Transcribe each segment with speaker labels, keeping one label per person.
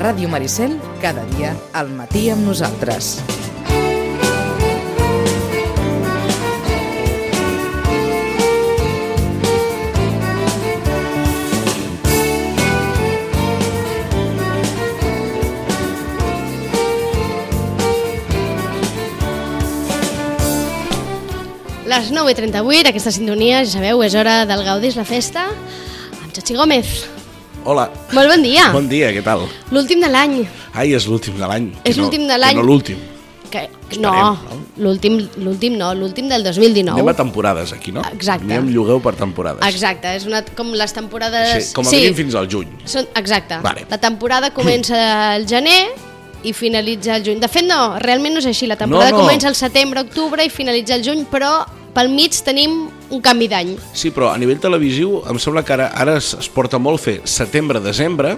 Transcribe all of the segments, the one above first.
Speaker 1: Ràdio Maricel, cada dia al matí amb nosaltres.
Speaker 2: Les 9.38, aquesta sintonia, ja sabeu, és hora del Gaudís la Festa amb Chachi Gómez.
Speaker 3: Hola.
Speaker 2: Molt bon dia.
Speaker 3: Bon dia, què tal?
Speaker 2: L'últim de l'any.
Speaker 3: Ai, és l'últim de l'any. Que
Speaker 2: És
Speaker 3: no-
Speaker 2: l'últim de l'any.
Speaker 3: Que no l'últim.
Speaker 2: Que...
Speaker 3: no?
Speaker 2: No, l'últim l'últim no, l'últim del
Speaker 3: Anem a
Speaker 2: 2019.
Speaker 3: temporades, aquí, no?
Speaker 2: Exacte.
Speaker 3: Anem llogueu per temporades.
Speaker 2: Exacte, és una, com les temporades...
Speaker 3: Sí, com a mínim fins al juny.
Speaker 2: Són, exacte.
Speaker 3: Vale.
Speaker 2: La temporada comença al gener i finalitza al juny. De fet, no, realment no és així. La temporada
Speaker 3: No, no.
Speaker 2: comença al setembre, octubre i finalitza al juny, però pel mig tenim un canvi d'any.
Speaker 3: Sí, però a nivell televisiu em sembla que ara, ara es, es porta molt fer setembre-desembre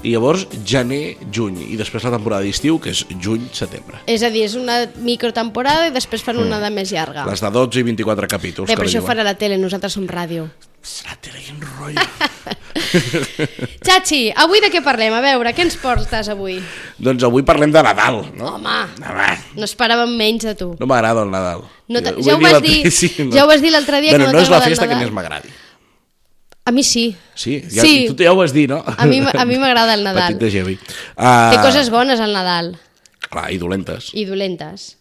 Speaker 3: i llavors gener-juny i després la temporada d'estiu que és juny-setembre.
Speaker 2: És a dir, és una microtemporada i després fan una de més llarga.
Speaker 3: Mm. Les de 12 i 24 capítols.
Speaker 2: Ah. Bé,
Speaker 3: que
Speaker 2: però
Speaker 3: li
Speaker 2: això ho
Speaker 3: diuen.
Speaker 2: farà la tele, nosaltres som ràdio.
Speaker 3: Serà tele i un rotllo.
Speaker 2: Chachi, avui de què parlem? A veure, què ens portes avui?
Speaker 3: doncs avui parlem de Nadal, no?
Speaker 2: Home,
Speaker 3: Nadal.
Speaker 2: no esperàvem menys de tu.
Speaker 3: No m'agrada el Nadal.
Speaker 2: No te-
Speaker 3: Ho
Speaker 2: ja ho
Speaker 3: vaig
Speaker 2: vas
Speaker 3: l'altre-
Speaker 2: dir- ja ho vas dir l'altre dia que
Speaker 3: bueno,
Speaker 2: no
Speaker 3: no és la
Speaker 2: t'agrada el
Speaker 3: festa que
Speaker 2: Nadal.
Speaker 3: més m'agradi.
Speaker 2: A mi sí.
Speaker 3: Sí, ja,
Speaker 2: Sí.
Speaker 3: sí. tu ja ho vas dir, no?
Speaker 2: A mi m- a mi m'agrada el Nadal.
Speaker 3: Petit de Gevi. Uh,
Speaker 2: Té coses bones al Nadal
Speaker 3: Clar, i dolentes.
Speaker 2: i dolentes.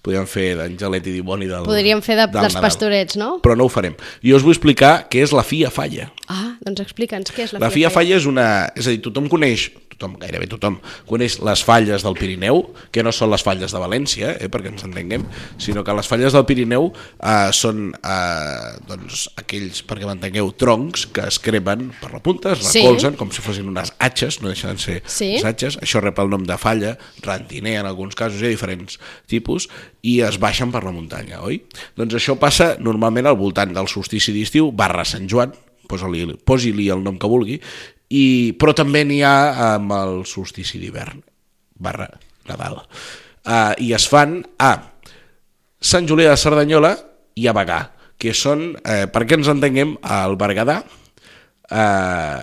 Speaker 3: Podríem fer d'Angelet i Dimoni del
Speaker 2: Podríem fer de,
Speaker 3: del
Speaker 2: dels
Speaker 3: Nadal.
Speaker 2: pastorets, no?
Speaker 3: Però no ho farem. Jo us vull explicar què és la FIA Falla.
Speaker 2: Ah, doncs explica'ns què és la,
Speaker 3: La FIA Falla és una... És a dir, tothom coneix, tothom, gairebé tothom, coneix les falles del Pirineu, que no són les falles de València, eh, perquè ens entenguem, sinó que les falles del Pirineu eh, són eh, doncs, aquells, perquè m'entengueu, troncs que es cremen per la punta, es
Speaker 2: Sí.
Speaker 3: recolzen, com si fossin unes atxes, no deixen de ser
Speaker 2: Sí.
Speaker 3: les atxes, això rep el nom de falla, rantiner en alguns casos, hi ha diferents tipus, i es baixen per la muntanya, oi? Doncs això passa normalment al voltant del solstici d'estiu, barra Sant Joan, posa-li- posi-li el nom que vulgui, i, però també n'hi ha amb el solstici d'hivern, barra Nadal. Uh, I es fan a Sant Julià de Cerdanyola i a Bagà, que són, eh, perquè ens entenguem, al Berguedà, Uh,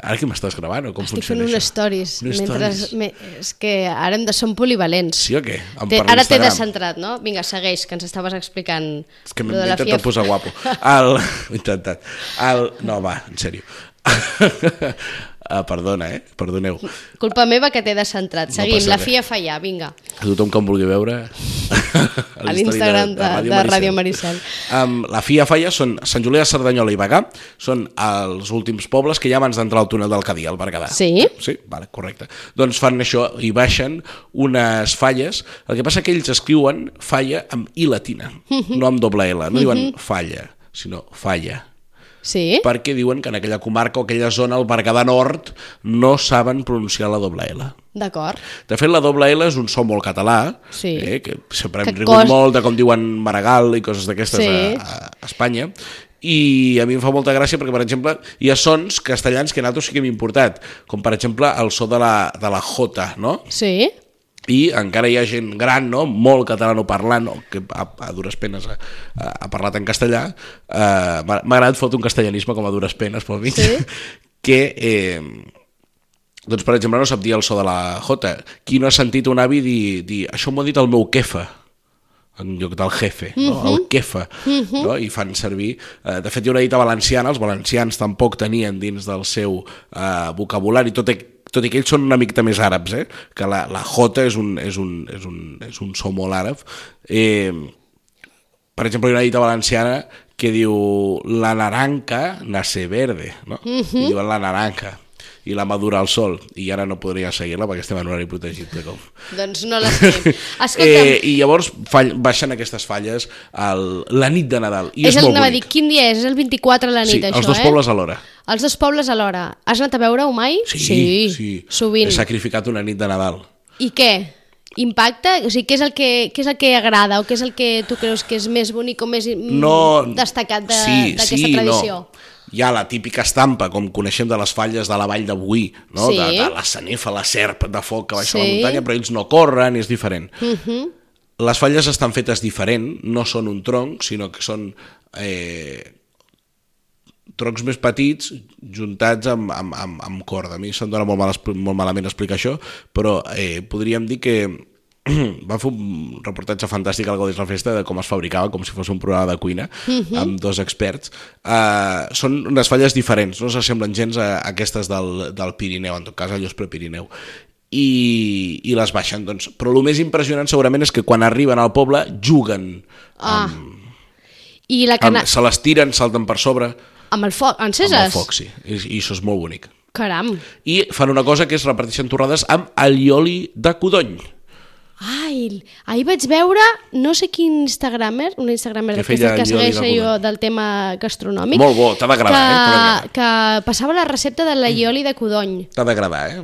Speaker 3: ara que m'estàs gravant o com
Speaker 2: Estic fent
Speaker 3: funciona
Speaker 2: unes
Speaker 3: això?
Speaker 2: stories.
Speaker 3: Unes
Speaker 2: mentre,
Speaker 3: stories.
Speaker 2: me, és que ara hem de som polivalents.
Speaker 3: Sí o què? Em
Speaker 2: Té,
Speaker 3: parla
Speaker 2: ara t'he
Speaker 3: Instagram.
Speaker 2: descentrat, no? Vinga, segueix, que ens estaves explicant
Speaker 3: És que
Speaker 2: lo
Speaker 3: m'he
Speaker 2: de la
Speaker 3: intentat
Speaker 2: FIEF.
Speaker 3: posar guapo. El... Ho he intentat. El... No, va, en sèrio. ah, perdona, eh? Perdoneu.
Speaker 2: Culpa meva que t'he descentrat.
Speaker 3: No
Speaker 2: Seguim,
Speaker 3: passa
Speaker 2: la
Speaker 3: res.
Speaker 2: FIA falla, vinga.
Speaker 3: A tothom que em vulgui veure...
Speaker 2: A l'Instagram de- de Ràdio Maricel.
Speaker 3: Um, la FIA Falla són Sant Julià de Cerdanyola i Bagà, són els últims pobles que hi ha abans d'entrar al túnel del Cadí, al Berguedà.
Speaker 2: Sí.
Speaker 3: Sí, vale, correcte. Doncs fan això i baixen unes falles. El que passa que ells escriuen falla amb i latina, no amb doble L. No diuen falla, sinó falla.
Speaker 2: Sí?
Speaker 3: perquè diuen que en aquella comarca o aquella zona, el Berguedà Nord, no saben pronunciar la doble L.
Speaker 2: D'acord.
Speaker 3: De fet, la doble L és un so molt català,
Speaker 2: Sí.
Speaker 3: eh, que sempre hem
Speaker 2: Que
Speaker 3: rigut
Speaker 2: cos-
Speaker 3: molt de com diuen Maragall i coses d'aquestes
Speaker 2: Sí.
Speaker 3: a, a Espanya, i a mi em fa molta gràcia perquè, per exemple, hi ha sons castellans que nosaltres sí que hem importat, com per exemple el so de la, de la J, no?
Speaker 2: Sí?
Speaker 3: i encara hi ha gent gran, no? molt catalanoparlant, o que a, a dures penes ha, ha parlat en castellà, eh, m'ha m'ha agradat fotre un castellanisme com a dures penes pel mig,
Speaker 2: Sí.
Speaker 3: que, eh, doncs, per exemple, no sap dir el so de la J. Qui no ha sentit un avi dir, dir això m'ho ha dit el meu quefa, en lloc del jefe, no? el quefa, no? i fan servir... Eh, de fet, hi ha una dita valenciana, els valencians tampoc tenien dins del seu eh, vocabulari, tot i, tot i que ells són una mica més àrabs, eh? que la, la jota és un, és, un, és, un, és un so molt àrab. Eh, per exemple, hi ha una dita valenciana que diu la naranca nace verde, no? I diuen la naranca i la madura al sol, i ara no podria seguir-la perquè estem en horari protegit de cop.
Speaker 2: Doncs no la sé. Escolta'm,
Speaker 3: Eh, I llavors fall, baixen aquestes falles el, la nit de Nadal. I
Speaker 2: és,
Speaker 3: és,
Speaker 2: el
Speaker 3: molt
Speaker 2: que va
Speaker 3: bonic.
Speaker 2: dir, quin dia és? És el 24 a la nit,
Speaker 3: sí,
Speaker 2: això,
Speaker 3: els dos
Speaker 2: eh?
Speaker 3: pobles alhora.
Speaker 2: Els dos pobles alhora. Has anat a veure-ho mai?
Speaker 3: Sí, sí.
Speaker 2: Sovint.
Speaker 3: He sacrificat una nit de Nadal.
Speaker 2: I què? Impacte? O sigui, què és, el que, què és el que agrada o què és el que tu creus que és més bonic o més mm,
Speaker 3: No...
Speaker 2: destacat de-
Speaker 3: sí,
Speaker 2: d'aquesta
Speaker 3: sí,
Speaker 2: tradició?
Speaker 3: No. Hi ha la típica estampa, com coneixem de les falles de la vall de Boí, no?
Speaker 2: Sí.
Speaker 3: de, de la sanefa, la serp de foc que baixa a la
Speaker 2: Sí. Mhm.
Speaker 3: muntanya, però ells no corren, és diferent. Les falles estan fetes diferent, no són un tronc, sinó que són eh, troncs més petits juntats amb, amb, amb, amb corda. A mi se'm dona molt, mal, expli- molt malament explicar això, però eh, podríem dir que va fer un reportatge fantàstic al Godis la Festa de com es fabricava, com si fos un programa de cuina, amb dos experts. Uh, són unes falles diferents, no s'assemblen gens a, a aquestes del, del Pirineu, en tot cas allò és prepirineu. I, i les baixen, doncs. Però el més impressionant segurament és que quan arriben al poble juguen,
Speaker 2: Ah. I la
Speaker 3: amb,
Speaker 2: cana...
Speaker 3: se les tiren, salten per sobre,
Speaker 2: Amb el foc, enceses?
Speaker 3: amb el foc, sí. I, i això és molt bonic.
Speaker 2: Caram.
Speaker 3: I fan una cosa que és reparteixen torrades amb allioli de codony.
Speaker 2: Ai, ahir vaig veure no sé quin instagramer, un instagramer
Speaker 3: Que
Speaker 2: d'aquestes
Speaker 3: feia
Speaker 2: que
Speaker 3: Jordi
Speaker 2: segueix
Speaker 3: Dalgona.
Speaker 2: jo del tema gastronòmic.
Speaker 3: Molt bo, t'ha d'agradar, eh?
Speaker 2: que, que passava la recepta de l'aioli de codony,
Speaker 3: T'ha d'agradar, eh?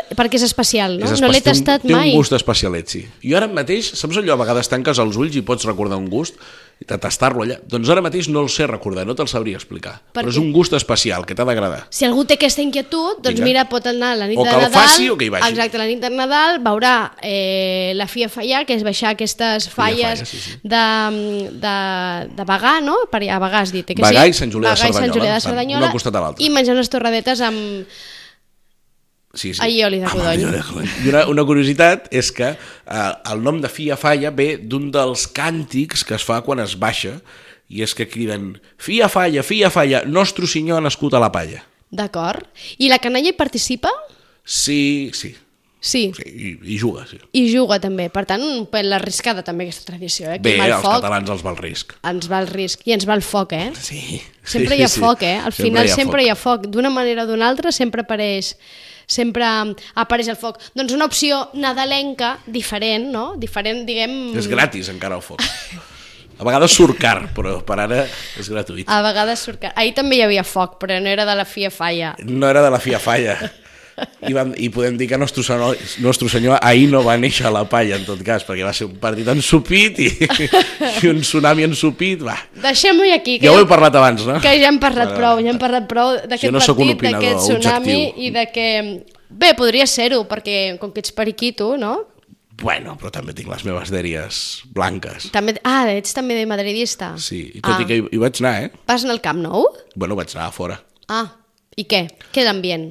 Speaker 2: t- perquè és especial, no?
Speaker 3: És
Speaker 2: no l'he
Speaker 3: especial, té un-
Speaker 2: tastat
Speaker 3: té
Speaker 2: mai.
Speaker 3: un gust especialet, sí. I ara mateix, saps allò, a vegades tanques els ulls i pots recordar un gust, i de tastar-lo allà. Doncs ara mateix no el sé recordar, no te'l sabria explicar.
Speaker 2: Per
Speaker 3: Per però és
Speaker 2: què?
Speaker 3: un gust especial, que t'ha d'agradar.
Speaker 2: Si algú té aquesta inquietud, doncs
Speaker 3: Vinga.
Speaker 2: mira, pot anar a la nit
Speaker 3: O
Speaker 2: de
Speaker 3: que el
Speaker 2: Nadal...
Speaker 3: faci o que hi vagi.
Speaker 2: Exacte, la nit de Nadal veurà eh, la Fia Fallà, que és baixar aquestes falles
Speaker 3: Falla, sí, sí.
Speaker 2: De, de, de Bagà, no? Per, a Bagà has dit, eh, que
Speaker 3: Bagà
Speaker 2: sí?
Speaker 3: i Sant Julià de
Speaker 2: Bagà i Sant
Speaker 3: Cerdanyola,
Speaker 2: Julià de
Speaker 3: van
Speaker 2: Cerdanyola.
Speaker 3: d'un al costat de l'altre.
Speaker 2: I menjar unes torradetes amb...
Speaker 3: Sí, sí.
Speaker 2: Aioli de
Speaker 3: Amb
Speaker 2: codony.
Speaker 3: aioli de codony. I una, una curiositat és que eh, el nom de Fia Falla ve d'un dels càntics que es fa quan es baixa, i és que criden Fia Falla, Fia Falla, nostre senyor ha nascut a la palla.
Speaker 2: D'acord. I la canalla hi participa?
Speaker 3: Sí, sí,
Speaker 2: Sí.
Speaker 3: sí i, i juga, sí.
Speaker 2: I juga també. Per tant, un pèl arriscada també aquesta tradició, eh? Aquí
Speaker 3: Bé,
Speaker 2: va el
Speaker 3: als
Speaker 2: foc,
Speaker 3: catalans els va el risc.
Speaker 2: ens va el risc i ens va el foc, eh?
Speaker 3: Sí.
Speaker 2: Sempre
Speaker 3: sí,
Speaker 2: hi ha
Speaker 3: sí.
Speaker 2: foc, eh? Al final sempre
Speaker 3: foc.
Speaker 2: hi ha foc. D'una manera o d'una altra sempre apareix sempre apareix el foc. Doncs una opció nadalenca, diferent, no? Diferent, diguem...
Speaker 3: És gratis encara el foc. A vegades surt car, però per ara és gratuït.
Speaker 2: A vegades surt... car- Ahir també hi havia foc, però no era de la fia falla.
Speaker 3: No era de la Fia Falla. I, vam, I podem dir que Nostre Senyor, Nostre Senyor ahir no va néixer a la palla, en tot cas, perquè va ser un partit ensupit i, i un tsunami ensupit. Va.
Speaker 2: Deixem-ho aquí, que
Speaker 3: Ja ho he parlat abans, no?
Speaker 2: que ja hem parlat
Speaker 3: Vale,
Speaker 2: prou,
Speaker 3: vale.
Speaker 2: ja hem parlat prou d'aquest
Speaker 3: Jo no sóc un
Speaker 2: partit, d'aquest
Speaker 3: opinador
Speaker 2: tsunami
Speaker 3: objectiu.
Speaker 2: i de que... Bé, podria ser-ho, perquè com que ets periquito, no?
Speaker 3: Bueno, però també tinc les meves dèries blanques.
Speaker 2: També... Ah, ets també de madridista.
Speaker 3: Sí, i tot
Speaker 2: ah.
Speaker 3: i que hi, hi vaig anar, eh?
Speaker 2: Vas anar al Camp Nou?
Speaker 3: Bueno, vaig anar a fora.
Speaker 2: Ah, i què? Què l'ambient?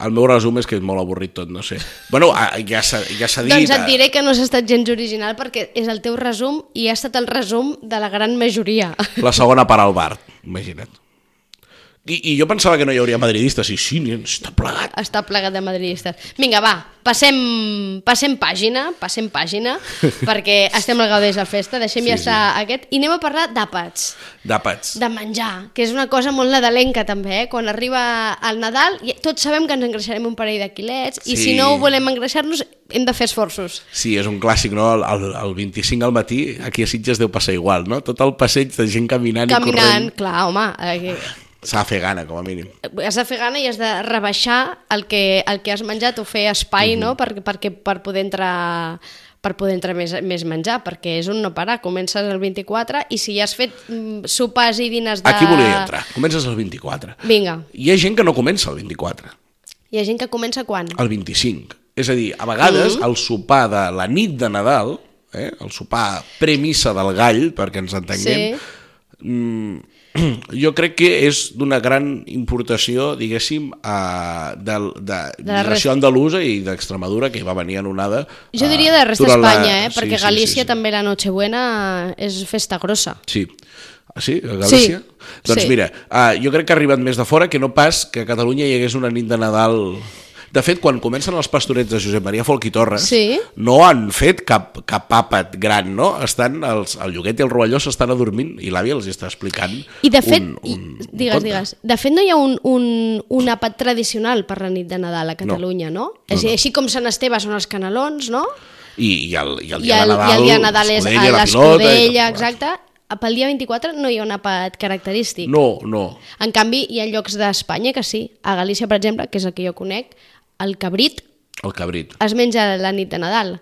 Speaker 3: El meu resum és que és molt avorrit tot, no sé. Bueno, a- ja s'ha ja s'ha dit...
Speaker 2: Doncs et
Speaker 3: eh,
Speaker 2: diré que no has estat gens original perquè és el teu resum i ha estat el resum de la gran majoria.
Speaker 3: eh, La segona part al bar, imagina't. I, I jo pensava que no hi hauria madridistes, i sí, n'hi ha- està plegat.
Speaker 2: Està plegat de madridistes. Vinga, va, passem, passem pàgina, passem pàgina, perquè estem al Gaudés a Festa, deixem
Speaker 3: Sí,
Speaker 2: sí, ja estar aquest, i anem a parlar d'àpats.
Speaker 3: D'àpats.
Speaker 2: de menjar, que és una cosa molt nadalenca també, eh? quan arriba el Nadal i tots sabem que ens engreixarem un parell de quilets i
Speaker 3: Sí.
Speaker 2: si no ho volem engreixar-nos hem de fer esforços.
Speaker 3: Sí, és un clàssic, no? El, el, el 25 al matí, aquí a Sitges deu passar igual, no? Tot el passeig de gent caminant,
Speaker 2: Caminant,
Speaker 3: i
Speaker 2: clar, home, eh,
Speaker 3: corrent. S'ha de fer gana, com a mínim.
Speaker 2: has de fer gana i has de rebaixar el que, el que has menjat o fer espai
Speaker 3: Mhm.
Speaker 2: no? per, perquè, per poder entrar per poder entrar més, més menjar, perquè és un no parar, comences el 24 i si ja has fet mm, sopars i dinars de...
Speaker 3: Aquí volia entrar. Comences el 24.
Speaker 2: Vinga,
Speaker 3: Hi ha gent que no comença el 24,
Speaker 2: hi ha gent que comença quan?
Speaker 3: el 25. És a dir, a vegades
Speaker 2: Mm.
Speaker 3: el sopar de la nit de Nadal, eh? el sopar premissa del gall, perquè ens entenguem,
Speaker 2: Sí.
Speaker 3: jo crec que és d'una gran importació, diguéssim, a, de, de,
Speaker 2: De
Speaker 3: de
Speaker 2: la
Speaker 3: migració andalusa i d'Extremadura, que va venir en onada.
Speaker 2: Jo
Speaker 3: eh,
Speaker 2: diria de resta
Speaker 3: durant
Speaker 2: d'Espanya, eh?
Speaker 3: Sí,
Speaker 2: perquè
Speaker 3: sí,
Speaker 2: Galícia
Speaker 3: sí, sí.
Speaker 2: també la Nochebuena és festa grossa.
Speaker 3: Sí. Ah, sí? A Galícia?
Speaker 2: Sí.
Speaker 3: Doncs
Speaker 2: Sí.
Speaker 3: mira, uh, jo crec que ha arribat més de fora que no pas que a Catalunya hi hagués una nit de Nadal... De fet, quan comencen els pastorets de Josep Maria Folk i Torres,
Speaker 2: Sí.
Speaker 3: no han fet cap, cap àpat gran, no? Estan els, el Lloguet i el Rovelló s'estan adormint i l'àvia els hi està explicant
Speaker 2: I de fet,
Speaker 3: un, un,
Speaker 2: i-
Speaker 3: un
Speaker 2: digues,
Speaker 3: conte.
Speaker 2: digues, de fet no hi ha un, un, un àpat tradicional per la nit de Nadal a Catalunya, no? no? Així, així com Sant Esteve són els canelons, no?
Speaker 3: I, i, el, i el
Speaker 2: I
Speaker 3: dia
Speaker 2: el,
Speaker 3: de Nadal,
Speaker 2: i el dia de Nadal és a
Speaker 3: l'escudella, la pilota, i
Speaker 2: l'escudella,
Speaker 3: tot plegat.
Speaker 2: exacte. Pel dia 24 no hi ha un àpat característic.
Speaker 3: No, no.
Speaker 2: En canvi, hi ha llocs d'Espanya que sí. A Galícia, per exemple, que és el que jo conec, el cabrit
Speaker 3: El cabrit.
Speaker 2: es menja la nit de Nadal.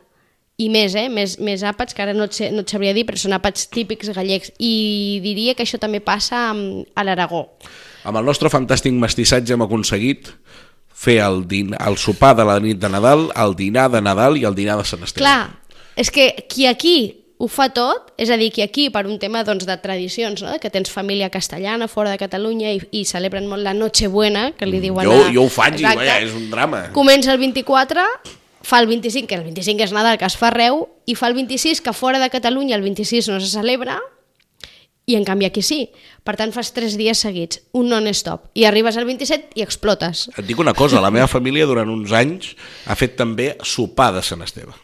Speaker 2: I més, eh? Més, més àpats, que ara no et, sé, no et sabria dir, però són àpats típics gallecs. I diria que això també passa mm, a l'Aragó.
Speaker 3: Amb el nostre fantàstic mestissatge hem aconseguit fer el, din el sopar de la nit de Nadal, el dinar de Nadal i el dinar de Sant Esteve.
Speaker 2: Clar, és que qui aquí ho fa tot, és a dir, que aquí per un tema doncs, de tradicions, no? que tens família castellana fora de Catalunya i, i celebren molt la Nochebuena, que li diuen...
Speaker 3: Mm, Jo,
Speaker 2: a-
Speaker 3: jo ho faig i
Speaker 2: Exacte.
Speaker 3: vaja, és un drama.
Speaker 2: Comença el 24, fa el 25, que el 25 és Nadal, que es fa arreu, i fa el 26, que fora de Catalunya el 26 no se celebra, i en canvi aquí sí. Per tant, fas tres dies seguits, un non-stop, i arribes al 27 i explotes.
Speaker 3: Et dic una cosa, la meva família durant uns anys ha fet també sopar de Sant Esteve.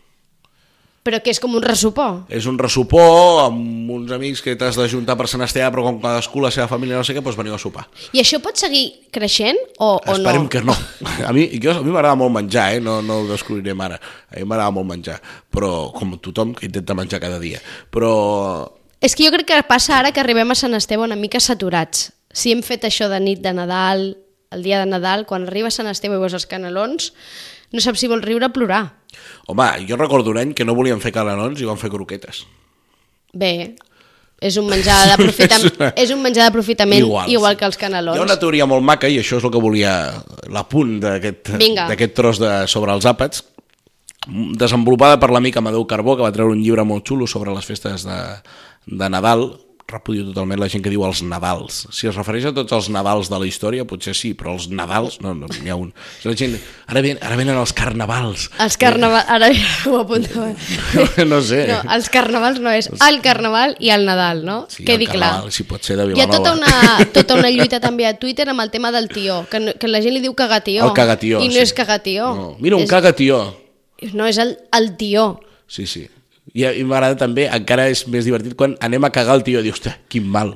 Speaker 2: Però que és com un ressupor.
Speaker 3: És un ressopor amb uns amics que t'has d'ajuntar per Sant Esteve, però com cadascú la seva família no sé què, doncs veniu a sopar.
Speaker 2: I això pot seguir creixent o, o
Speaker 3: Esperem
Speaker 2: no?
Speaker 3: que no. A mi, jo, a mi m'agrada molt menjar, eh? no, no ho descobrirem ara. A mi m'agrada molt menjar, però com tothom que intenta menjar cada dia. Però
Speaker 2: És que jo crec que passa ara que arribem a Sant Esteve una mica saturats. Si hem fet això de nit de Nadal, el dia de Nadal, quan arriba Sant Esteve i veus els canelons, no saps si vols riure o plorar.
Speaker 3: Home, jo recordo un any que no volien fer calanons i van fer croquetes.
Speaker 2: Bé, és un menjar d'aprofitament, és un menjar d'aprofitament igual, igual
Speaker 3: sí.
Speaker 2: que els canelons.
Speaker 3: Hi ha una teoria molt maca, i això és el que volia l'apunt d'aquest
Speaker 2: Vinga.
Speaker 3: d'aquest tros de, sobre els àpats, desenvolupada per l'amic Amadeu Carbó, que va treure un llibre molt xulo sobre les festes de, de Nadal, repudio totalment la gent que diu els Nadals. Si es refereix a tots els Nadals de la història, potser sí, però els Nadals, no, no, n'hi ha un. És La gent, ara, ven, ara venen els carnavals.
Speaker 2: Els carnavals, ara ho apuntava.
Speaker 3: no sé.
Speaker 2: No, els carnavals no és el carnaval i el Nadal, no?
Speaker 3: Sí, el
Speaker 2: Quedi clar.
Speaker 3: carnaval, si pot ser, de
Speaker 2: Hi ha tota
Speaker 3: Vilanova.
Speaker 2: una, tota una lluita també a Twitter amb el tema del tió, que, no, que la gent li diu cagatió.
Speaker 3: El cagatió.
Speaker 2: I no
Speaker 3: sí.
Speaker 2: és cagatió.
Speaker 3: No. Mira, un
Speaker 2: és,
Speaker 3: cagatió.
Speaker 2: No, és el, el tió.
Speaker 3: Sí, sí. I, a- i m'agrada també, encara és més divertit quan anem a cagar el tio, dius, "Ostres, quin mal.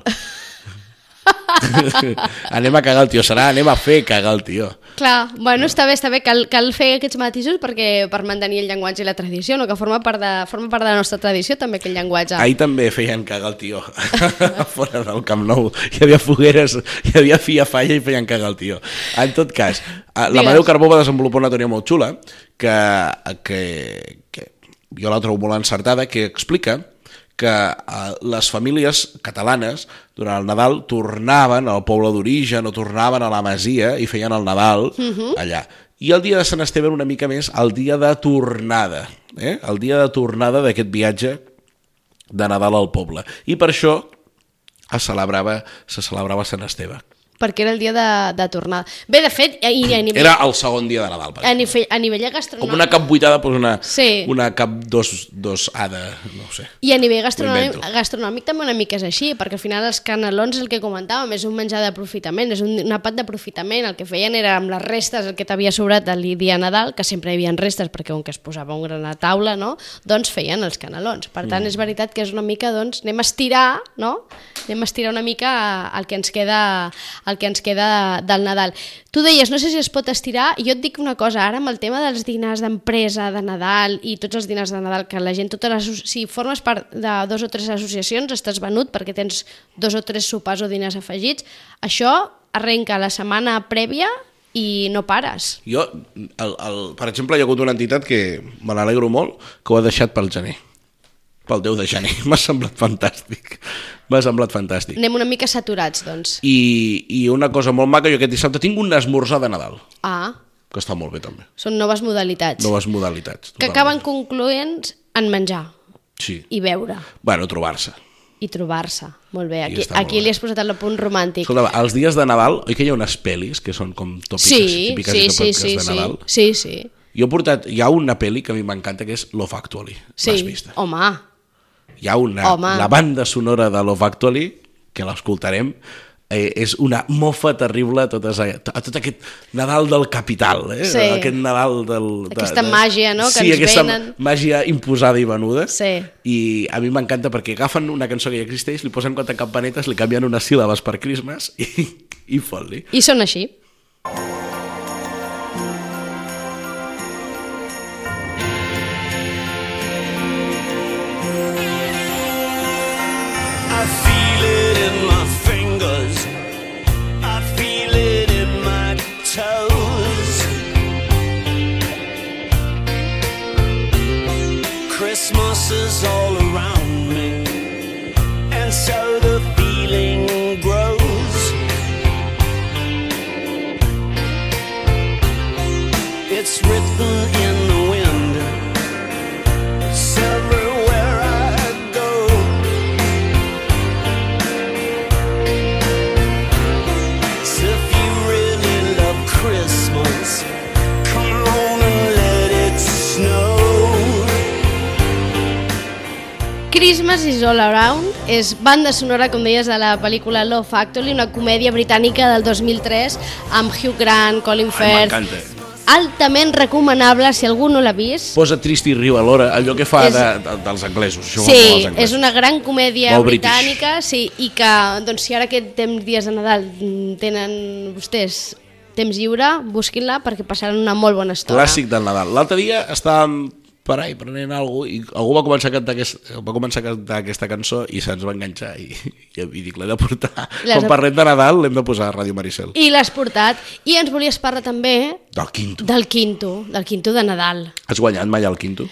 Speaker 3: anem a cagar el tio, serà anem a fer cagar el tio.
Speaker 2: Clar, bueno, està bé, està bé, cal, cal fer aquests matisos perquè per mantenir el llenguatge i la tradició, no? que forma part de, forma part de la nostra tradició també aquest llenguatge.
Speaker 3: Ahir també feien cagar el tio, fora del Camp Nou. Hi havia fogueres, hi havia fia falla i feien cagar el tio. En tot cas, eh, la
Speaker 2: Digues.
Speaker 3: Madeu Carbó va desenvolupar una teoria molt xula que, que, que jo la trobo molt encertada, que explica que eh, les famílies catalanes durant el Nadal tornaven al poble d'origen o tornaven a la masia i feien el Nadal
Speaker 2: Mhm.
Speaker 3: allà. I el dia de Sant Esteve era una mica més el dia de tornada, eh? el dia de tornada d'aquest viatge de Nadal al poble. I per això es celebrava, se celebrava Sant Esteve.
Speaker 2: perquè era el dia de, de tornada. Bé, de fet, i, i eh, a, nivell,
Speaker 3: Era el segon dia de Nadal.
Speaker 2: a,
Speaker 3: Per
Speaker 2: nivell, a nivell
Speaker 3: com
Speaker 2: gastronòmic...
Speaker 3: una cap vuitada, doncs una,
Speaker 2: Sí.
Speaker 3: una cap dos, dos A de... no ho sé.
Speaker 2: I a nivell
Speaker 3: Ho
Speaker 2: gastronòmic,
Speaker 3: invento.
Speaker 2: gastronòmic també una mica és així, perquè al final els canelons, el que comentàvem, és un menjar d'aprofitament, és un, un àpat d'aprofitament. El que feien era amb les restes, el que t'havia sobrat del dia Nadal, que sempre hi havia restes, perquè on que es posava un gran a taula, no? doncs feien els canelons. Per
Speaker 3: Mm.
Speaker 2: tant, és veritat que és una mica, doncs, anem a estirar, no? anem a estirar una mica eh, el que ens queda, el que ens queda del Nadal. Tu deies, no sé si es pot estirar, i jo et dic una cosa, ara amb el tema dels dinars d'empresa, de Nadal i tots els dinars de Nadal, que la gent, totes les, asso- si formes part de dos o tres associacions, estàs venut perquè tens dos o tres sopars o dinars afegits, això arrenca la setmana prèvia i no pares.
Speaker 3: Jo, el, el, per exemple, hi ha hagut una entitat que me n'alegro molt, que ho ha deixat pel gener pel 10 de gener, m'ha semblat fantàstic m'ha semblat fantàstic
Speaker 2: Anem una mica saturats, doncs.
Speaker 3: I, i una cosa molt maca, jo aquest dissabte tinc un esmorzar de Nadal
Speaker 2: Ah,
Speaker 3: que està molt bé també,
Speaker 2: són noves modalitats
Speaker 3: noves modalitats
Speaker 2: que
Speaker 3: totalment.
Speaker 2: acaben concloents en menjar
Speaker 3: sí.
Speaker 2: i beure.
Speaker 3: bueno, trobar-se
Speaker 2: i trobar-se. Molt bé,
Speaker 3: I
Speaker 2: aquí,
Speaker 3: està molt
Speaker 2: aquí
Speaker 3: bé.
Speaker 2: li has posat el punt romàntic.
Speaker 3: Escolta, els dies de Nadal, oi que hi ha unes pel·lis que són com tòpiques
Speaker 2: sí,
Speaker 3: típiques
Speaker 2: sí,
Speaker 3: i
Speaker 2: sí,
Speaker 3: tòpiques
Speaker 2: sí,
Speaker 3: de
Speaker 2: sí,
Speaker 3: Nadal?
Speaker 2: sí, sí.
Speaker 3: Jo he portat... Hi ha una pel·li que a mi m'encanta, que és Love Actually. L'has
Speaker 2: Sí,
Speaker 3: vista?
Speaker 2: home,
Speaker 3: Hi ha una...
Speaker 2: Home.
Speaker 3: La banda sonora de Love Actually, que l'escoltarem, eh, és una mofa terrible a, totes, a, a tot aquest Nadal del capital, eh?
Speaker 2: Sí.
Speaker 3: Aquest Nadal del... De,
Speaker 2: Aquesta
Speaker 3: de...
Speaker 2: màgia, no?, que
Speaker 3: sí,
Speaker 2: ens
Speaker 3: aquesta
Speaker 2: venen.
Speaker 3: màgia imposada i venuda.
Speaker 2: Sí.
Speaker 3: I a mi m'encanta perquè agafen una cançó que ja existeix, li posen quatre campanetes, li canvien unes síl·labes per Christmas i, i fot-li.
Speaker 2: i són així.
Speaker 4: I feel it in my fingers. I feel it in my toes. Christmas is all around me, and so the feeling grows. It's written in the wind. It's everywhere I go.
Speaker 2: Christmas is All Around és banda sonora, com deies, de la pel·lícula Love Factory, una comèdia britànica del 2003 amb Hugh Grant, Colin Firth...
Speaker 3: M'encanta.
Speaker 2: altament recomanable si algú no l'ha vist.
Speaker 3: Posa trist i riu alhora, allò que fa
Speaker 2: És-
Speaker 3: de, de, dels anglesos. Això ho fan molt
Speaker 2: Sí,
Speaker 3: els anglesos.
Speaker 2: és una gran comèdia
Speaker 3: Molt british.
Speaker 2: britànica, sí, i que doncs, si ara aquest temps dies de Nadal mm, tenen vostès temps lliure, busquin-la perquè passaran una molt bona estona.
Speaker 3: Clàssic del Nadal. L'altre dia estàvem per ahí prenent alguna cosa i algú va començar a cantar, aquest, va començar a cantar aquesta cançó i se'ns va enganxar i, i, i dic, l'he de portar.
Speaker 2: L'has de-
Speaker 3: Quan parlem de Nadal l'hem de posar a Ràdio Maricel.
Speaker 2: I l'has portat. I ens volies parlar també
Speaker 3: Del quinto.
Speaker 2: del quinto, del quinto de Nadal.
Speaker 3: Has guanyat mai el quinto?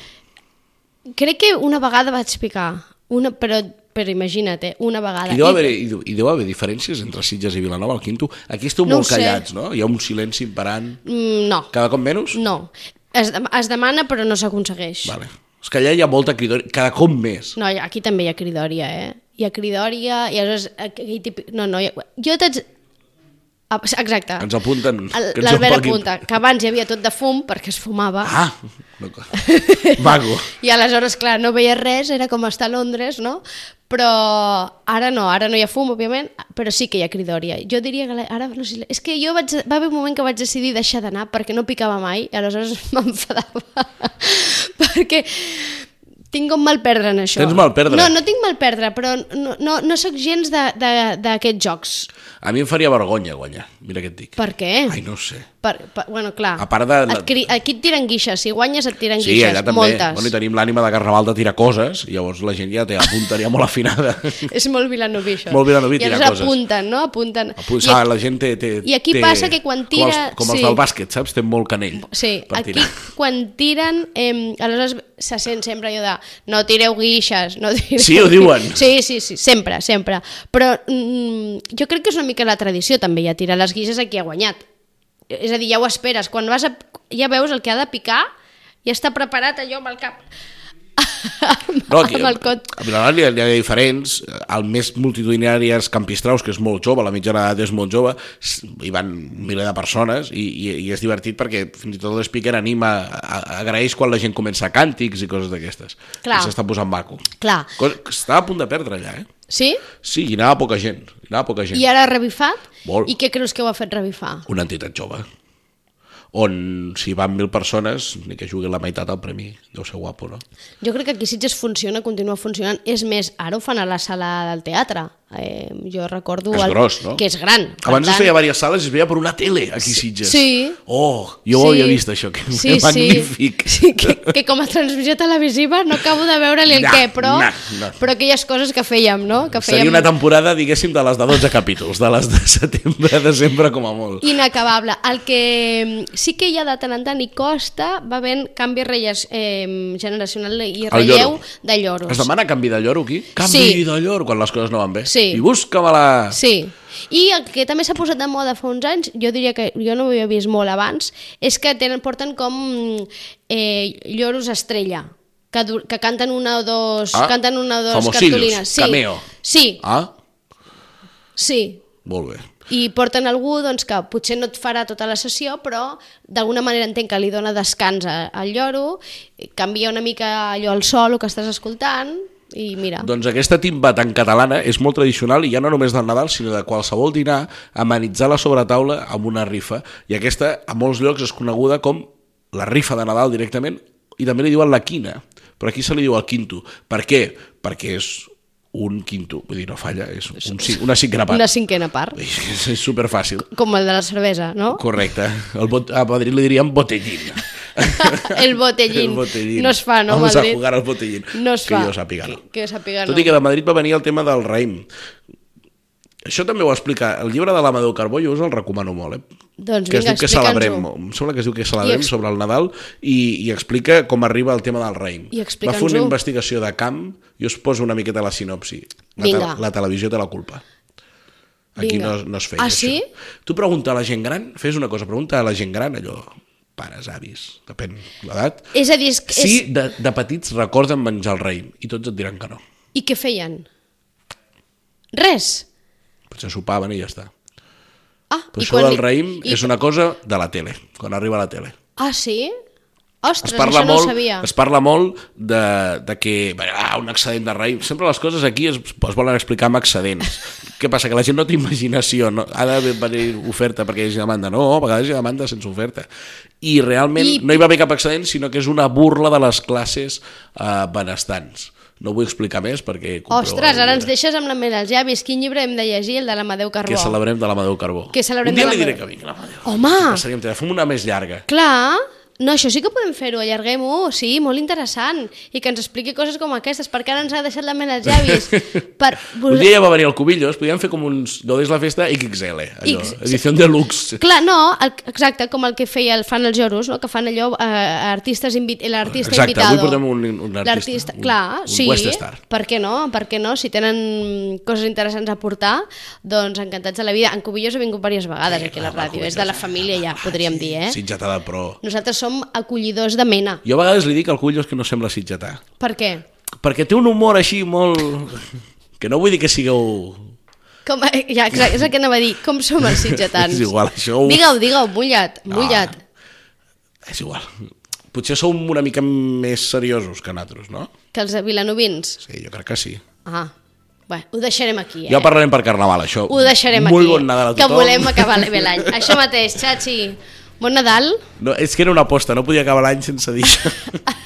Speaker 2: Crec que una vegada vaig picar, una, però, però imagina't, eh, una vegada.
Speaker 3: I deu, haver, i, deu, I deu haver diferències entre Sitges i Vilanova, el quinto. Aquí esteu
Speaker 2: No ho
Speaker 3: molt
Speaker 2: sé.
Speaker 3: callats, no? Hi ha un silenci imparant.
Speaker 2: Mm, No,
Speaker 3: Cada cop menys?
Speaker 2: no. Es, dem- es demana però no s'aconsegueix.
Speaker 3: Vale. És que allà hi ha molta cridòria, cada cop més.
Speaker 2: No, hi- aquí també hi ha cridòria, eh? Hi ha cridòria, i aleshores... Aquí, típic... No, no, hi ha... jo t'haig... Ah, Exacte.
Speaker 3: Ens apunten, que ens
Speaker 2: L'Albert
Speaker 3: empalquin.
Speaker 2: apunta que abans hi havia tot de fum perquè es fumava.
Speaker 3: Ah! No, vago.
Speaker 2: I aleshores, clar, no veia res, era com estar a Londres, no? Però ara no, ara no hi ha fum, òbviament, però sí que hi ha cridòria. Jo diria que la- ara... No sé, és que jo vaig, va haver un moment que vaig decidir deixar d'anar perquè no picava mai, i aleshores m'enfadava. perquè tinc com mal perdre en això.
Speaker 3: Tens mal perdre.
Speaker 2: No, no tinc mal perdre, però no, no, no sóc gens de- de- d'aquests jocs.
Speaker 3: A mi em faria vergonya guanyar, mira què et dic.
Speaker 2: Per què?
Speaker 3: Ai, no ho sé.
Speaker 2: Per, per, bueno, clar,
Speaker 3: A part de la-
Speaker 2: et cri, aquí et tiren guixes, si guanyes et tiren
Speaker 3: Sí,
Speaker 2: guixes,
Speaker 3: allà també.
Speaker 2: moltes.
Speaker 3: Bueno, i tenim l'ànima de Carnaval de tirar coses, i llavors la gent ja té la punteria molt afinada.
Speaker 2: És molt vilanoví, això.
Speaker 3: Molt vilanoví, tirar
Speaker 2: I aleshores
Speaker 3: coses.
Speaker 2: apunten, no? Apunten.
Speaker 3: Pues,
Speaker 2: I
Speaker 3: ah,
Speaker 2: aquí-
Speaker 3: la gent té, té,
Speaker 2: i aquí
Speaker 3: té,
Speaker 2: passa que quan
Speaker 3: Com
Speaker 2: tira-
Speaker 3: els, com els
Speaker 2: sí.
Speaker 3: del bàsquet, saps? Té molt canell
Speaker 2: Sí,
Speaker 3: per
Speaker 2: aquí
Speaker 3: tirar.
Speaker 2: quan tiren, eh, aleshores se sent sempre allò de no tireu guixes, no tireu...
Speaker 3: Sí, ho diuen.
Speaker 2: Sí, sí, sí, sempre, sempre. Però mm, jo crec que és una mica la tradició també, ja tirar les guixes a qui ha guanyat. És a dir, ja ho esperes, quan vas a, ja veus el que ha de picar, ja està preparat allò amb el cap... amb,
Speaker 3: No, aquí, eh,
Speaker 2: amb el cot.
Speaker 3: a Vilanova n'hi ha- n'hi ha diferents. El més multitudinari és Campistraus, que és molt jove, la mitjana d'edat és molt jove, s- hi van un miler de persones i, i, i és divertit perquè fins i tot l'Speaker anima, a, a- agraeix quan la gent comença càntics i coses d'aquestes.
Speaker 2: Clar.
Speaker 3: I S'està posant maco.
Speaker 2: Clar.
Speaker 3: Cosa que Estava a punt de perdre allà, eh?
Speaker 2: Sí?
Speaker 3: Sí, hi anava poca gent. Hi anava poca gent.
Speaker 2: I ara ha revifat?
Speaker 3: Molt.
Speaker 2: I què creus que ho ha fet revifar?
Speaker 3: Una entitat jove on si van mil persones ni que jugui la meitat al premi deu ser guapo, no?
Speaker 2: Jo crec que aquí Sitges funciona, continua funcionant. És més, ara ho fan a la sala del teatre. Eh, jo recordo...
Speaker 3: Que és
Speaker 2: el-
Speaker 3: gros, no?
Speaker 2: Que és gran. Per
Speaker 3: Abans es
Speaker 2: tant,
Speaker 3: feia diverses sales i es veia per una tele aquí a Sitges.
Speaker 2: sí.
Speaker 3: Oh, jo ho havia vist això, que sí, era magnífic.
Speaker 2: Sí, que, que com a transmissió televisiva no acabo de veure-li el
Speaker 3: No,
Speaker 2: què, però,
Speaker 3: no, no.
Speaker 2: però aquelles coses que fèiem, no? Que fèiem
Speaker 3: Seria una temporada, diguéssim, de les de 12 capítols, de les de setembre a desembre com a molt.
Speaker 2: inacabable. El que mm, sí que hi ha de tant en tant i costa va havent canvi relles, eh, generacional i
Speaker 3: El
Speaker 2: relleu
Speaker 3: lloro.
Speaker 2: de lloros.
Speaker 3: Es demana canvi de lloro aquí? Canvi
Speaker 2: Sí.
Speaker 3: de lloro, quan les coses no van bé.
Speaker 2: Sí.
Speaker 3: I busca-me-la...
Speaker 2: Sí, i el que també s'ha posat de moda fa uns anys, jo diria que jo no ho havia vist molt abans, és que tenen, porten com eh, lloros estrella, que, du- que canten una o dos,
Speaker 3: Ah,
Speaker 2: canten una o dos
Speaker 3: famosillos,
Speaker 2: cartolines. Sí,
Speaker 3: cameo.
Speaker 2: Sí,
Speaker 3: Ah,
Speaker 2: sí.
Speaker 3: molt bé.
Speaker 2: I porten algú doncs, que potser no et farà tota la sessió, però d'alguna manera entenc que li dona descans a- al lloro, canvia una mica allò al sol, el que estàs escoltant, i mira.
Speaker 3: Doncs aquesta timba tan catalana és molt tradicional i ja no només del Nadal, sinó de qualsevol dinar, amenitzar la sobretaula amb una rifa. I aquesta, a molts llocs, és coneguda com la rifa de Nadal directament i també li diuen la quina, però aquí se li diu el quinto. Per què? Perquè és un quinto, vull dir, no falla, és un, cin- una cinquena part.
Speaker 2: Una cinquena part,
Speaker 3: És, és superfàcil.
Speaker 2: com el de la cervesa, no?
Speaker 3: Correcte. El bot, a Madrid li diríem botellín.
Speaker 2: el botellín.
Speaker 3: El botellín.
Speaker 2: No es fa, no,
Speaker 3: Vamos
Speaker 2: Madrid?
Speaker 3: a jugar al botellín.
Speaker 2: No es
Speaker 3: que
Speaker 2: fa.
Speaker 3: jo sàpiga, no.
Speaker 2: Que, que jo sàpiga,
Speaker 3: Tot
Speaker 2: no.
Speaker 3: i que de Madrid va venir el tema del raïm. Això també ho explica. El llibre de l'Amadeu Carbó jo us el recomano molt, eh?
Speaker 2: Doncs
Speaker 3: que es
Speaker 2: vinga,
Speaker 3: diu que
Speaker 2: explica'ns-ho.
Speaker 3: celebrem, em sembla que es diu que celebrem
Speaker 2: I ex-
Speaker 3: sobre el Nadal i, i explica com arriba el tema del raïm.
Speaker 2: I
Speaker 3: Va
Speaker 2: explica'ns-ho.
Speaker 3: fer una investigació de camp i us poso una miqueta la sinopsi. La, te-
Speaker 2: Vinga.
Speaker 3: la televisió té la culpa. Aquí
Speaker 2: Vinga.
Speaker 3: no, es- no es feia
Speaker 2: Ah, sí?
Speaker 3: això. Tu pregunta a la gent gran, fes una cosa, pregunta a la gent gran allò, pares, avis, depèn l'edat,
Speaker 2: És a dir, és,
Speaker 3: si de, de petits recorden menjar el raïm i tots et diran que no.
Speaker 2: és... i què feien? Res.
Speaker 3: Potser sopaven i ja està.
Speaker 2: Ah,
Speaker 3: Però
Speaker 2: i
Speaker 3: això
Speaker 2: quan
Speaker 3: del
Speaker 2: li-
Speaker 3: raïm
Speaker 2: i...
Speaker 3: és una cosa de la tele, quan arriba a la tele.
Speaker 2: Ah, sí? Ostres,
Speaker 3: es parla
Speaker 2: això no ho
Speaker 3: molt,
Speaker 2: sabia.
Speaker 3: Es parla molt de, de que bé, ah, un excedent de raïm... Sempre les coses aquí es, es volen explicar amb excedents. Què passa? Que la gent no té imaginació. No? Ha d'haver venir oferta perquè hi hagi demanda. No, a vegades hi ha demanda sense oferta. I realment
Speaker 2: I-
Speaker 3: I... no hi va haver cap excedent, sinó que és una burla de les classes eh, benestants. No vull explicar més perquè... compreu
Speaker 2: Ostres,
Speaker 3: el
Speaker 2: ara ens
Speaker 3: llibre,
Speaker 2: deixes amb la mel als llavis. Quin llibre hem de llegir? El de l'Amadeu Carbó.
Speaker 3: Que celebrem de l'Amadeu Carbó.
Speaker 2: Que celebrem
Speaker 3: Un dia
Speaker 2: de
Speaker 3: li diré
Speaker 2: l'Amadeu.
Speaker 3: que vingui l'Amadeu.
Speaker 2: Home!
Speaker 3: Passaríem, fem una més llarga.
Speaker 2: Clar, no, això sí que podem fer-ho, allarguem-ho, sí, molt interessant, i que ens expliqui coses com aquestes, perquè ara ens ha deixat la mel als llavis. Per...
Speaker 3: Un dia ja va venir el Cubillos, podíem fer com uns Gaudeix la Festa XXL, allò,
Speaker 2: X-
Speaker 3: edició deluxe.
Speaker 2: Clar, no, el, exacte, com el que feia el fan els lloros, no? que fan allò eh, artistes invi l'artista
Speaker 3: Exacte,
Speaker 2: invitado.
Speaker 3: avui portem un- un artista,
Speaker 2: L'artista,
Speaker 3: un-
Speaker 2: clar,
Speaker 3: un
Speaker 2: sí,
Speaker 3: West Star.
Speaker 2: per què no, per què no, si tenen coses interessants a portar, doncs encantats de la vida. En Cubillos ha vingut diverses vegades aquí a la ràdio, és de la família
Speaker 3: Ah,
Speaker 2: ja, podríem dir, eh?
Speaker 3: Sitgetà de pro.
Speaker 2: Nosaltres som acollidors de mena.
Speaker 3: Jo a vegades li dic al Cubillos que no sembla sitgetà,
Speaker 2: Per què?
Speaker 3: perquè té un humor així molt... que no vull dir que sigueu...
Speaker 2: Com, eh, ja, exacte, és el que anava a dir. Com som els sitgetans?
Speaker 3: És igual, això ho- Ah.
Speaker 2: Digue-ho, digue-ho, mullat,
Speaker 3: No.
Speaker 2: mullat.
Speaker 3: És igual. Potser sou una mica més seriosos que nosaltres, no?
Speaker 2: Que els vilanovins...
Speaker 3: Sí, jo crec que sí.
Speaker 2: Ah, bé, ho deixarem aquí, eh?
Speaker 3: Ja parlarem per Carnaval, això.
Speaker 2: Ho deixarem
Speaker 3: Molt
Speaker 2: aquí.
Speaker 3: bon Nadal a tothom.
Speaker 2: Que volem acabar bé l'any. Això mateix, Chachi. Bon Nadal,
Speaker 3: No, és que era una aposta, no podia acabar l'any sense dir això.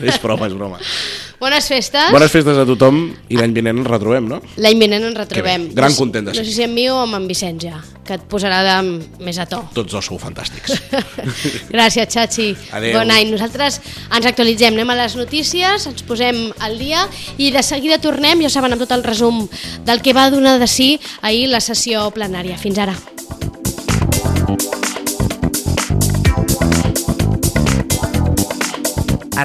Speaker 3: és broma, és broma.
Speaker 2: bones festes.
Speaker 3: Bones festes a tothom i l'any vinent ens retrobem, no?
Speaker 2: L'any vinent ens retrobem.
Speaker 3: Que bé. Gran
Speaker 2: No sé-
Speaker 3: content de
Speaker 2: No
Speaker 3: ser.
Speaker 2: sé si amb mi o amb en Vicenç ja, que et posarà de, més a to.
Speaker 3: Tots dos sou fantàstics.
Speaker 2: Gràcies, Chachi.
Speaker 3: Adéu.
Speaker 2: Bon any. Nosaltres ens actualitzem, anem a les notícies, ens posem al dia i de seguida tornem, ja saben, amb tot el resum del que va donar de si ahir la sessió plenària. Fins ara.
Speaker 1: A